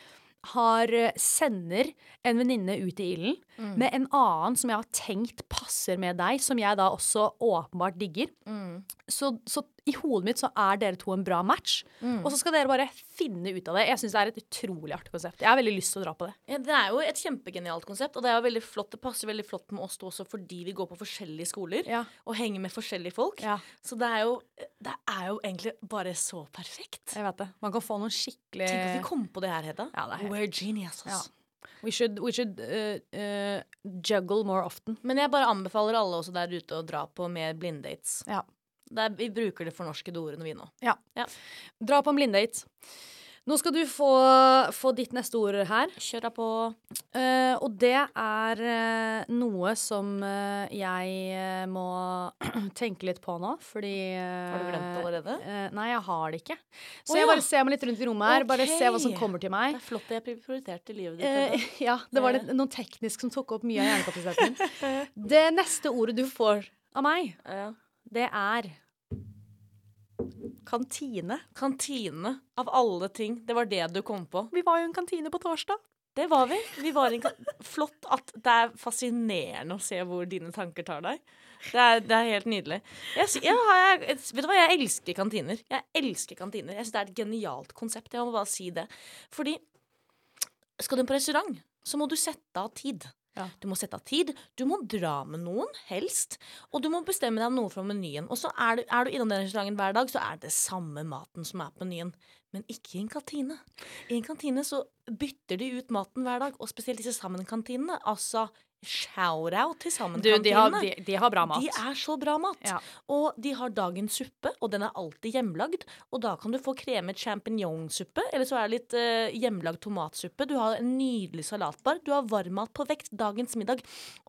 A: har eh, sender en venninne ut i ilden med en annen som jeg har tenkt passer med deg, som jeg da også åpenbart digger
B: mm.
A: så, så i hodet mitt så er dere to en bra match. Og så skal dere bare finne ut av det. Jeg syns det er et utrolig artig konsept. Jeg har veldig lyst til å dra på det.
B: Ja, det er jo et kjempegenialt konsept, og det er jo veldig flott. Det passer veldig flott med oss to også fordi vi går på forskjellige skoler
A: Ja.
B: og henger med forskjellige folk.
A: Ja.
B: Så det er, jo, det er jo egentlig bare så perfekt.
A: Jeg vet det. Man kan få noen skikkelig
B: Tenk at vi kom på det her, Hedda.
A: Ja, det er helt-
B: We're geniuses.
A: Ja. We should, we should uh, uh, juggle more often.
B: Men jeg bare anbefaler alle også der ute å dra på mer blinddates.
A: Ja.
B: Der, vi bruker det fornorskede ordene vi nå.
A: Dra på en blinddate. Nå skal du få, få ditt neste ord her.
B: Kjør deg på.
A: Eh, og det er eh, noe som eh, jeg eh, må [CLEARS THROAT] tenke litt på nå, fordi eh,
B: Har du glemt det allerede?
A: eh, nei, jeg har det ikke. Så
B: Å,
A: jeg
B: ja.
A: bare ser meg litt rundt i rommet her, bare se hva som
B: Ok.
A: kommer til
B: Det
A: meg.
B: er flott at jeg pri- prioriterte livet ditt.
A: Eh, [LAUGHS]
B: Hedda.
A: ja, det var det, noe teknisk som tok opp mye av hjernekapasiteten
B: [LAUGHS]
A: min. Det neste ordet du får av meg,
B: ja.
A: det er kantine.
B: Kantine, av alle ting. Det var det du kom på.
A: Vi var jo i en kantine på torsdag.
B: Det var vi. vi var i en kan- Flott at det er fascinerende å se hvor dine tanker tar deg. Det er, det er helt nydelig. Jeg, sy- ja, har jeg, vet du hva, jeg elsker kantiner. Jeg elsker kantiner. Jeg synes det er et genialt konsept. Jeg må bare si det. Fordi skal du på restaurant, så må du sette av tid.
A: Ja.
B: Du må sette av tid, du må dra med noen, helst, og du må bestemme deg noe fra menyen. Og så er du, er du innom den restauranten hver dag, så er det samme maten som er på menyen. Men ikke i en kantine. I en kantine så bytter de ut maten hver dag, og spesielt disse Sammen-kantinene. Altså shout-out til Sammen-kantinene.
A: bra
B: De er så bra mat.
A: Ja.
B: Og de har dagens suppe, og den er alltid hjemlagd. Og da kan du få kremet sjampinjongsuppe, eller så er det litt eh, hjemlagd tomatsuppe. Du har en nydelig salatbar. Du har varmmat på vekt dagens middag.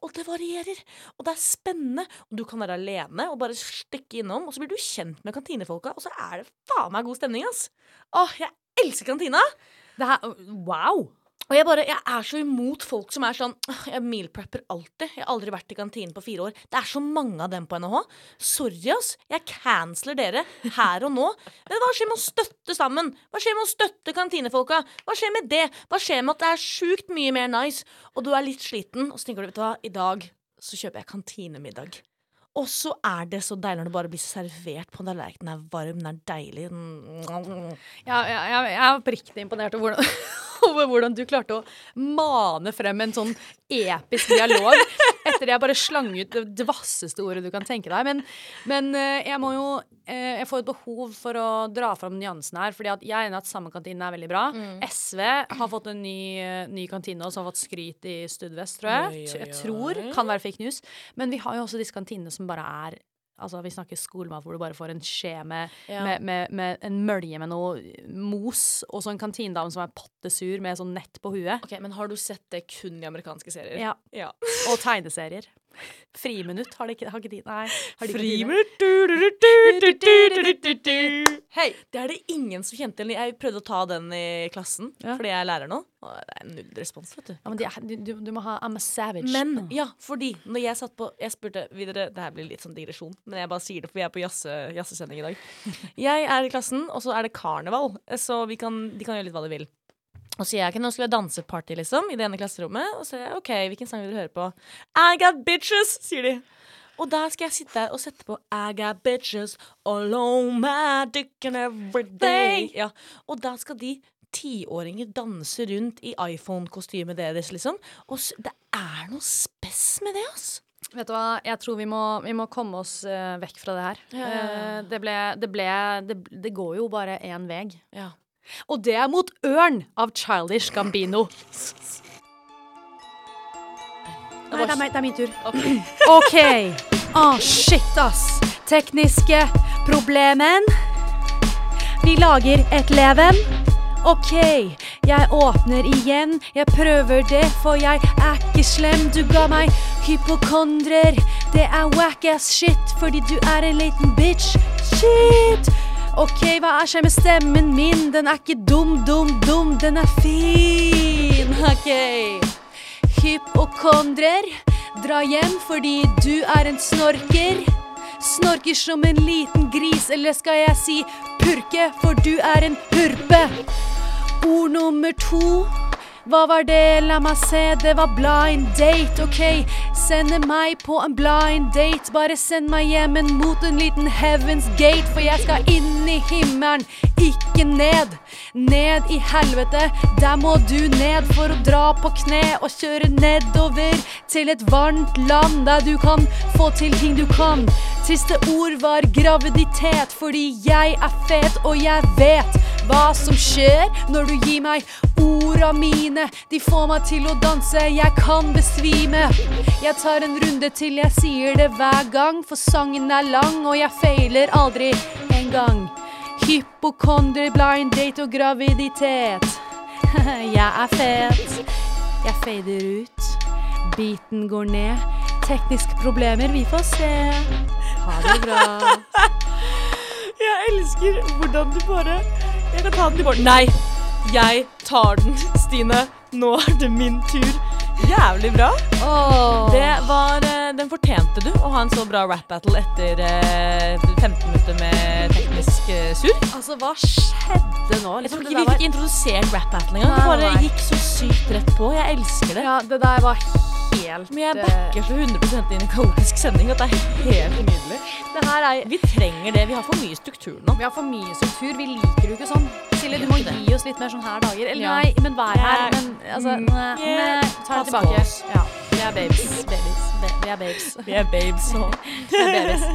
B: Og det varierer. Og det er spennende. Og du kan være alene og bare stikke innom, og så blir du kjent med kantinefolka, og så er det faen meg god stemning, ass. Åh, jeg elsker kantina!
A: Det her, øh, wow!
B: Og jeg bare, jeg er så imot folk som er sånn «Åh, Jeg mealprepper alltid. Jeg har aldri vært i kantinen på fire år. Det er så mange av dem på NHH. Sorry, ass. Jeg canceler dere her og nå. Men hva skjer med å støtte sammen? Hva skjer med å støtte kantinefolka? Hva skjer med det? Hva skjer med at det er sjukt mye mer nice? Og du er litt sliten, og så tenker du, vet du hva, i dag så kjøper jeg kantinemiddag. Og så er det så deilig når det bare blir servert på en tallerken. Den er varm, den er deilig. Den-
A: Ja, ja, jeg, jeg er oppriktig imponert over hvordan, [LAUGHS] over hvordan du klarte å mane frem en sånn episk dialog etter det jeg bare slang ut det, det vasseste ordet du kan tenke deg. Men, men eh, jeg må jo eh, Jeg får et behov for å dra fram nyansen her. fordi at jeg er enig i at Samekantinen er veldig bra.
B: Mm.
A: SV har fått en ny, eh, ny kantine også, som har fått skryt i Studvest, tror jeg.
B: Oi, oi,
A: Jeg tror.
B: oi.
A: Kan være fake news. Men vi har jo også disse kantinene som bare er Altså, vi snakker skolemat hvor du bare får en skje med
B: Ja.
A: med, med, med en mølje med noe mos, og så en kantinedame som er pattesur med sånn nett på huet.
B: Ok, Men har du sett det kun i amerikanske serier?
A: Ja,
B: ja.
A: Og tegneserier. Friminutt har de ikke, har ikke de? Nei. Har de ikke timer?
B: Friminutt Hei! Det er det ingen som kjente igjen. Jeg prøvde å ta den i klassen,
A: Ja.
B: fordi jeg er lærer nå. Og det er null respons, vet du.
A: Ja, men de, er- du, du må ha I'm a savage.
B: Men ja, fordi når jeg satt på Jeg spurte videre Det her blir litt sånn digresjon, men jeg bare sier det, for vi er på jazze- jazzesending i dag. Jeg er i klassen, og så er det karneval, så vi kan, de kan gjøre litt hva de vil. Og sier jeg ikke, nå skal vi ha danseparty, liksom, i det ene klasserommet. Og så sier jeg OK, hvilken sang vil dere høre på? I got bitches, sier de. Og der skal jeg sitte og sette på I got bitches all on my dick and every day. Ja. Og da skal de tiåringer danse rundt i iPhone-kostymet deres, liksom. Og s- det er noe spess med det, ass.
A: Vet du hva, jeg tror vi må, vi må komme oss eh, vekk fra det her. Eh, det ble, det, ble det, det går jo bare én vei.
B: [CLEARS THROAT] Ja.
A: Og det er mot Ørn av Childish Gambino. Nei, det er, meg- det er min tur. OK. Å, shit, ass. Tekniske problemen. Vi lager et leven. OK, jeg åpner igjen. Jeg prøver det, for jeg er ikke slem. Du ga meg hypokondrer. Det er whack ass shit, fordi du er en liten bitch. Shit. OK, hva er skjer med stemmen min? Den er ikke dum, dum, dum. Den er fin. [LAUGHS] OK. Hypokondrer, dra hjem fordi du er en snorker. Snorker som en liten gris, eller skal jeg si purke, for du er en hurpe. Ord nummer to. Hva var det? La meg se. Det var blind date. OK, sende meg på en blind date. Bare send meg hjem en mot en liten heavens gate, for jeg skal inn i himmelen, ikke ned. Ned i helvete, der må du ned for å dra på kne og kjøre nedover til et varmt land der du kan få til ting du kan. Siste ord var graviditet, fordi jeg er fet, og jeg vet hva som skjer når du gir meg orda mine. De får meg til å danse, jeg kan besvime. Jeg tar en runde til jeg sier det hver gang, for sangen er lang, og jeg feiler aldri en gang. Hypokonder, blind date og graviditet. [LAUGHS] jeg er fet. Jeg fader ut. Biten går ned. Tekniske problemer, vi får se. Ha det bra.
B: [LAUGHS] Jeg elsker hvordan du bare Jeg kan ta den i morgen. Nei, jeg tar den, [LAUGHS] Stine. Nå er det min tur. Jævlig bra. Det var, eh, den fortjente du, å ha en så bra rap battle etter eh, 15 minutter med teknisk eh, sur.
A: Altså, hva skjedde nå?
B: Jeg
A: Liksom,
B: tror ikke Vi fikk introdusert rap battle engang. Det
A: Nei,
B: bare
A: nei.
B: gikk så sykt rett på. Jeg elsker det.
A: Ja, det der var helt
B: Men jeg
A: eh,
B: backer så 100 inn i kaotisk sending at det er helt nydelig.
A: Det her er
B: Vi trenger det. Vi har for mye struktur nå.
A: Vi har for mye struktur. Vi liker det jo ikke sånn. Silje, du må
B: Gjør ikke det.
A: gi oss litt mer sånn her dager. Eller
B: Ja.
A: nei, men vær her.
B: Nei.
A: Men altså
B: Mm.
A: nei,
B: Yeah.
A: nei, Ta det
B: Pass på
A: tilbake.
B: oss.
A: Ja. Vi er babies. babies. Ba- Vi er [LAUGHS] babes.
B: Vi er babes nå.
A: Vi er babies.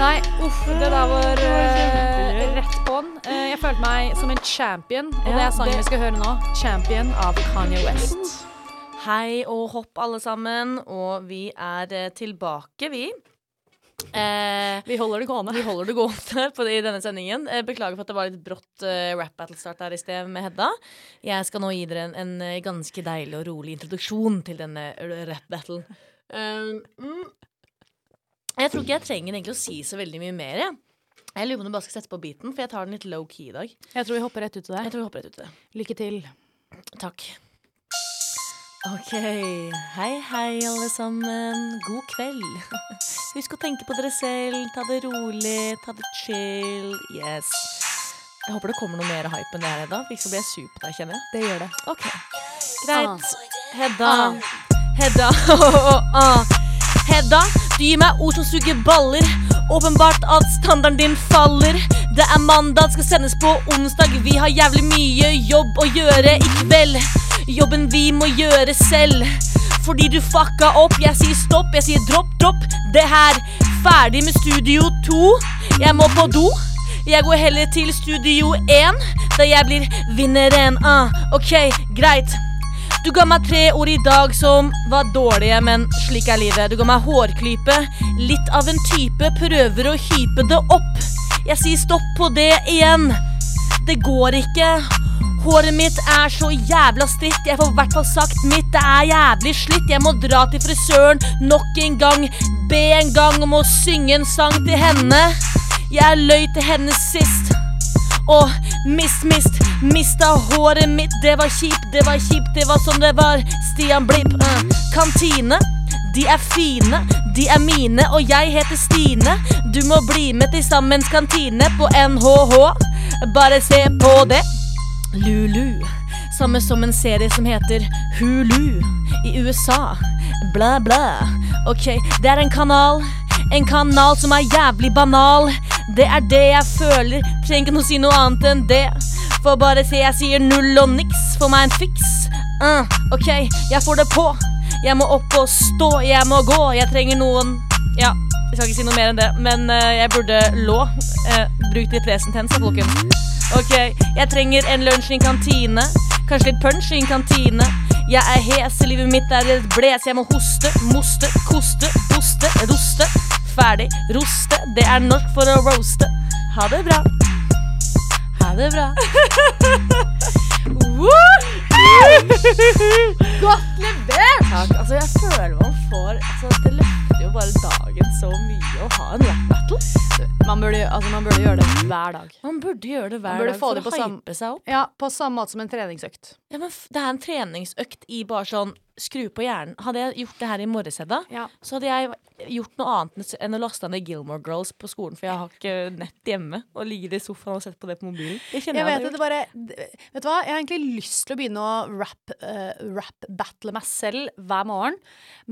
A: Nei, uff. Det der var eh, rett på'n. Eh, jeg følte meg som en champion, og
B: Ja,
A: det er sangen
B: det-
A: vi skal høre nå. Champion av Kanye West.
B: Hei og hopp, alle sammen. Og vi er eh, tilbake, vi. Eh,
A: Vi holder det gående.
B: vi holder det gående på det, i denne sendingen. Eh, beklager for at det var litt brått eh, rap battle-start her i sted med Hedda. Jeg skal nå gi dere en, en eh, ganske deilig og rolig introduksjon til denne rap battlen. Eh, mm. Jeg tror ikke jeg trenger egentlig å si så veldig mye mer. Jeg. jeg lurer på om du bare skal sette på beaten, for jeg tar den litt low key i dag.
A: Jeg tror vi hopper rett ut til
B: Jeg
A: deg.
B: tror vi hopper rett ut i det.
A: Lykke til.
B: Takk. Ok. Hei, hei, alle sammen. God kveld. [LAUGHS] Husk å tenke på dere selv. Ta det rolig. Ta det chill. Yes. Jeg håper det kommer noe mer hype enn det her, Hedda. for Ikke så blir jeg sur på deg, kjenner jeg.
A: Det gjør det.
B: Ok.
A: Ah.
B: Greit. Hedda. Hedda. [LAUGHS] Ah. Hedda, du gir meg ord som suger baller. Åpenbart at standarden din faller. Det er mandag, skal sendes på onsdag. Vi har jævlig mye jobb å gjøre i kveld. Jobben vi må gjøre selv. Fordi du fucka opp. Jeg sier stopp, jeg sier dropp, dropp. Det her. Ferdig med Studio 2. Jeg må på do. Jeg går heller til Studio 1, da jeg blir vinneren. Ah, ok, greit. Du ga meg tre ord i dag som var dårlige, men slik er livet. Du ga meg hårklype, litt av en type, prøver å hype det opp. Jeg sier stopp på det igjen. Det går ikke. Håret mitt er så jævla stritt, jeg får i hvert fall sagt mitt. Det er jævlig slitt, jeg må dra til frisøren nok en gang. Be en gang om å synge en sang til henne. Jeg løy til henne sist. Og mist, mist, mista håret mitt. Det var kjipt, det var kjipt, det var som det var. Stian Blipp. eh. Kantine. De er fine, de er mine, og jeg heter Stine. Du må bli med til Sammens kantine på NHH. Bare se på det. Lulu. Samme som en serie som heter Hulu i USA. Bla, bla. Ok, det er en kanal. En kanal som er jævlig banal. Det er det jeg føler. Trenger ikke noe si noe annet enn det. For bare se, jeg sier null og niks. Få meg en fiks. Uh, ok, jeg får det på. Jeg må opp og stå. Jeg må gå. Jeg trenger noen Ja, jeg skal ikke si noe mer enn det, men eh, jeg burde lå. Uh, bruk det i presentens, da, folkens. Ok, jeg trenger en lunsj i en kantine Kanskje litt punch i en kantine Jeg er hes, livet mitt er et bles Jeg må hoste, moste, koste, boste, roste Ferdig, roste Det er norsk for å roaste Ha det bra Ha det [LAUGHS] bra Godt levert Takk, altså jeg føler man får altså, Det løfter jo bare dagen så mye Å ha en rap battle
A: Man burde, altså, man burde gjøre det hver dag.
B: Man burde gjøre det
A: Man
B: hver
A: burde
B: dag
A: få
B: For
A: det
B: å
A: på
B: hype
A: sam-
B: seg opp
A: Ja, på samme måte som en treningsøkt.
B: Ja, men f- det er en treningsøkt i bare sånn skru på hjernen. Hadde jeg gjort det her i morges, Hedda,
A: Ja.
B: så hadde jeg gjort noe annet enn s- enn å laste ned Gilmore Girls på skolen, for jeg har ikke nett hjemme. Og ligger i sofaen og sett på det på mobilen. Det kjenner
A: Jeg
B: jeg,
A: vet
B: hadde
A: det, det bare d- Vet du hva, jeg har egentlig lyst til å begynne å rap, eh, rap battle meg selv hver morgen,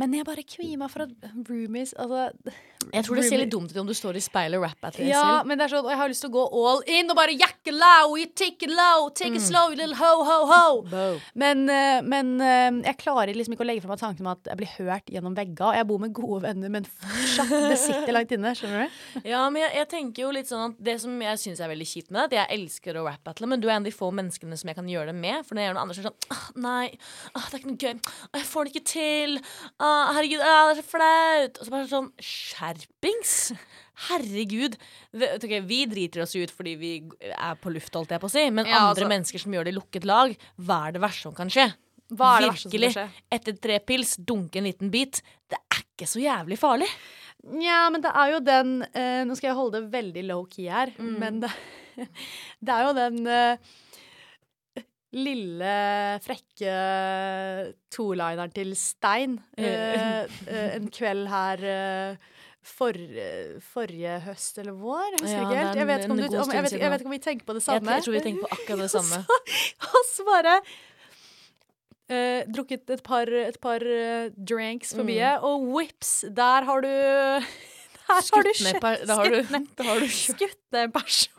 A: men jeg bare kvier meg for at roomies Altså
B: gjort. jeg tror det ser litt dumt ut om du står i speilet og rapper etter deg
A: Ja,
B: selv.
A: men det er sånn, og jeg har lyst til å gå all inn og bare jack it low, you take it low, take
B: Mm.
A: it slow, you little ho, ho, ho.
B: Bow.
A: Men, eh, men eh, jeg klarer liksom ikke å legge fra meg tanken om at jeg blir hørt gjennom vegga. Og jeg bor med gode venner, men fortsatt, det sitter langt inne. Skjønner du?
B: Ja, men jeg, jeg tenker jo litt sånn at Det som jeg syns er veldig kjipt med det, er at jeg elsker å rap-battle, men du er en av de få menneskene som jeg kan gjøre det med. For når jeg gjør noe annet, så er det sånn ah, Nei, ah, det er ikke noe gøy. Ah, jeg får det ikke til. Ah, herregud, ah, det er så flaut. Og så bare sånn Skjerpings! Herregud. Det, ok, vi driter oss ut fordi vi er på luft, holdt jeg på å si, men
A: Ja,
B: andre
A: altså-
B: mennesker som gjør det i lukket lag, hva er det verste som kan skje?
A: Hva er det verste som kan
B: Virkelig.
A: skje?
B: Etter tre pils, dunke en liten bit. Det er ikke så jævlig farlig.
A: Nja, men det er jo den eh, Nå skal jeg holde det veldig low-key her, men det, [LAUGHS] det er jo den eh, lille, frekke tolineren til Stein eh, eh, en kveld her eh, for, eh, forrige høst eller vår, jeg husker
B: Ja,
A: ikke
B: det
A: helt.
B: er
A: Jeg vet
B: en-
A: ikke om,
B: en
A: du,
B: god
A: om,
B: stund
A: jeg vet,
B: siden
A: jeg
B: nå.
A: vet ikke om vi tenker på det
B: Jeg,
A: samme.
B: jeg tror vi tenker på akkurat det samme.
A: Og så [LAUGHS] bare eh, drukket et par, et par eh, drinks
B: Mm.
A: for mye, og whips, der har du [LAUGHS] Der har du
B: Skutt ned
A: skjedd-
B: per- da har du-
A: skutt ned-
B: [LAUGHS] da
A: [LAUGHS]
B: har du kjørt-
A: skutt ned en person.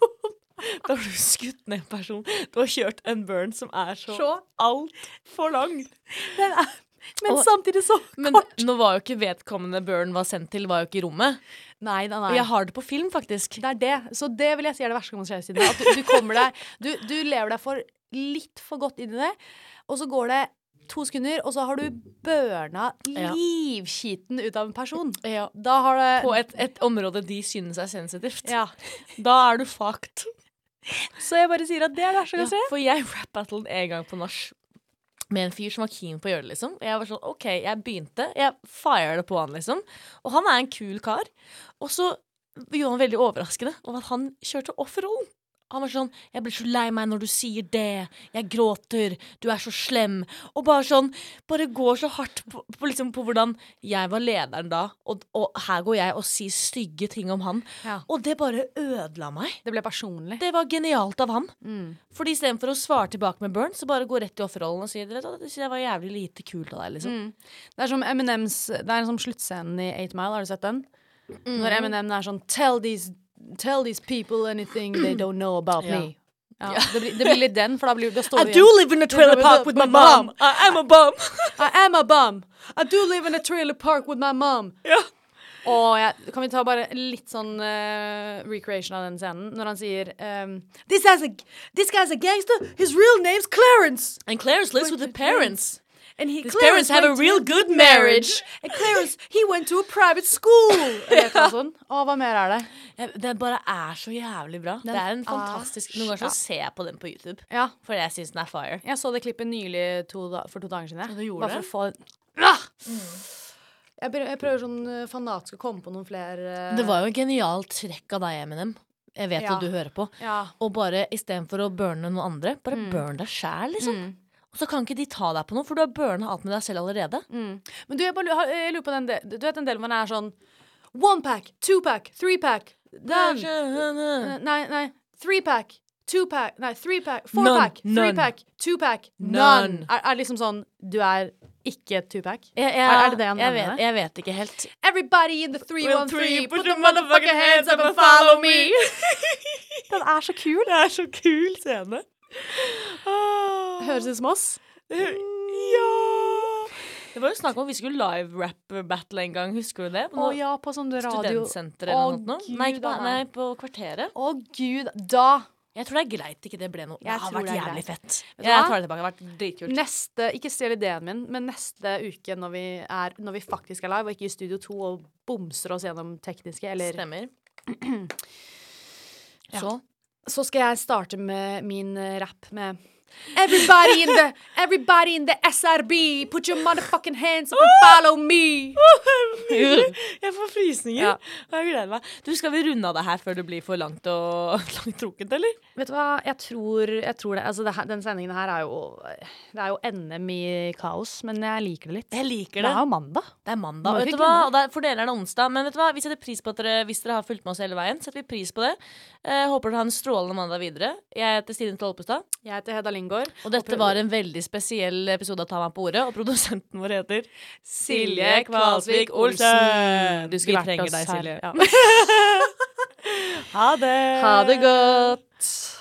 B: [LAUGHS] Da har du skutt ned en person. Du har kjørt en burn som er så,
A: Så.
B: altfor lang.
A: Men
B: Og-
A: samtidig så
B: Men
A: kort.
B: nå var jo ikke vedkommende burn var sendt til, var jo ikke i rommet.
A: Nei, nei,
B: Og jeg har det på film, faktisk.
A: Det er det. Så det vil jeg si er det verste som kan skje. Siden, at du, du kommer deg du, du lever deg for litt for godt inn i det, og så går det to sekunder, og så har du børna
B: Ja.
A: livskiten ut av en person. Da har det
B: På et, et område de synes er sensitivt.
A: ja.
B: Da er du fucked.
A: Så jeg bare sier at det er det verste som kan skje.
B: for jeg [LAUGHS] rap-battlet en gang på nach med en fyr som var keen på å gjøre det, liksom. Og jeg var sånn, OK, jeg begynte. Jeg firer det på han, liksom. Og han er en kul kar. Og så gjorde han veldig overraskende over at han kjørte off-rollen. Han var sånn 'Jeg blir så lei meg når du sier det. Jeg gråter. Du er så slem.' Og bare sånn Bare går så hardt på, på, liksom, på hvordan jeg var lederen da, og, og her går jeg og sier stygge ting om han.
A: Ja.
B: Og det bare ødela meg.
A: Det ble personlig.
B: Det var genialt av han. Fordi istedenfor å svare tilbake med burn, så bare gå rett i offerrollen og si «Du vet hva, det synes jeg var jævlig lite kult av deg, liksom.
A: Det er som Eminems Det er en sånn sluttscenen i 8 Mile, har du sett den?
B: Mm,
A: Når Eminem er sånn Tell these, tell these people anything they don't know about me. Ja, det, blir, det blir litt den, for da, blir, da står det
B: live in a
A: trailer park with my mom.
B: I am a bum.
A: I am a bum. I do live in a trailer park with my mom.
B: Ja.
A: Og jeg, kan vi ta bare litt sånn eh, recreation av den scenen? Når han sier ehm, this, guy's a, this guy's a gangster. His real name's Clarence.
B: [LAUGHS] And Clarence lives with her parents.
A: And he,
B: His parents have a
A: went to-
B: real good marriage.
A: [LAUGHS] And Clarence, he went to a private
B: [LAUGHS]
A: school. Eller noe sånt. Og sånn, hva mer er det?
B: Ja, Den bare er så jævlig bra. det er en fantastisk Noen ganger så ser jeg på den på YouTube,
A: Ja,
B: for jeg syns den er fire.
A: jeg så det klippet nylig to da, for to dager siden.
B: Ja,
A: jeg.
B: du gjorde
A: Bare
B: det?
A: for å få... Ah! Jeg, prøver, jeg prøver sånn eh, fanatisk å komme på noen flere eh,
B: Det var jo et genialt trekk av deg, Eminem. Jeg vet
A: Ja.
B: at du hører på.
A: ja.
B: Og bare istedenfor å burne noen andre, bare burn deg sjæl, liksom. Og så kan ikke de ta deg på noe, for du har burna alt med deg selv allerede.
A: Men du, jeg, bare, lu- har- jeg lurer på den del- Du vet den delen hvor den er sånn One pack, two pack, three pack Done Eh,
B: None.
A: Nei, nei, three pack Two pack, nei, three pack, four
B: None,
A: pack Three
B: none.
A: pack, two pack,
B: None.
A: none Er, er liksom sånn, du er ikke two pack
B: Jeg, jeg,
A: Er- er det det han
B: jeg
A: mener?
B: vet, jeg vet ikke helt.
A: Everybody in the 313
B: put your motherfucking hands up and follow me!
A: [LAUGHS] Den er så kul
B: [LAUGHS] Det er så kul scene. Ah.
A: Høres ut som oss
B: Ja! Det var jo snakk om at vi skulle live-rap-battle en gang, husker du det? På
A: Å
B: noe
A: ja, på sånn radio
B: Studentsenter eller
A: Å,
B: noe sånt.
A: Gud,
B: Nei, ikke på,
A: Anna.
B: nei, på Kvarteret.
A: Å gud, da
B: Jeg tror det er greit ikke det ble noe. Det
A: Jeg
B: har
A: tror
B: vært
A: det er
B: jævlig
A: greit.
B: fett.
A: du
B: Jeg
A: hva?
B: tar det tilbake. Det har vært dritkult.
A: Neste, ikke stjel ideen min, men neste uke når vi, er, når vi faktisk er live, og ikke i Studio 2 og bomser oss gjennom tekniske, eller
B: Stemmer. [CLEARS THROAT]
A: Ja.
B: Så
A: Så skal jeg starte med min eh, rap med Everybody in
B: [LAUGHS]
A: the Everybody in the SRB, put your motherfucking hands up and follow me!
B: Jeg får frysninger.
A: Ja.
B: Jeg gleder meg. Du, Skal vi runde av det her før det blir for langt og [LAUGHS] langt trukket, eller?
A: Vet du hva, jeg tror, jeg tror det Altså, det her, den sendingen her er jo Det er jo NM i kaos, men jeg liker det litt.
B: Jeg liker
A: Det er jo mandag.
B: Det er
A: Må
B: mandag, vet
A: ikke
B: du hva?
A: glemme
B: Og det er, for dere er det onsdag. Men vet du hva? vi setter pris på at dere hvis dere har fulgt med oss hele veien. setter vi pris på det. Eh, håper dere har en strålende mandag videre. Jeg heter Stine Tolpestad.
A: Jeg heter Hedda Lingård.
B: Og dette var en veldig spesiell episode av Ta meg på ordet. Og produsenten vår heter
A: Silje Kvalsvik Olsen.
B: Du skulle
A: vært
B: vi trenger
A: oss
B: deg,
A: her.
B: Silje.
A: Ja.
B: [LAUGHS] Ha det.
A: Ha det godt.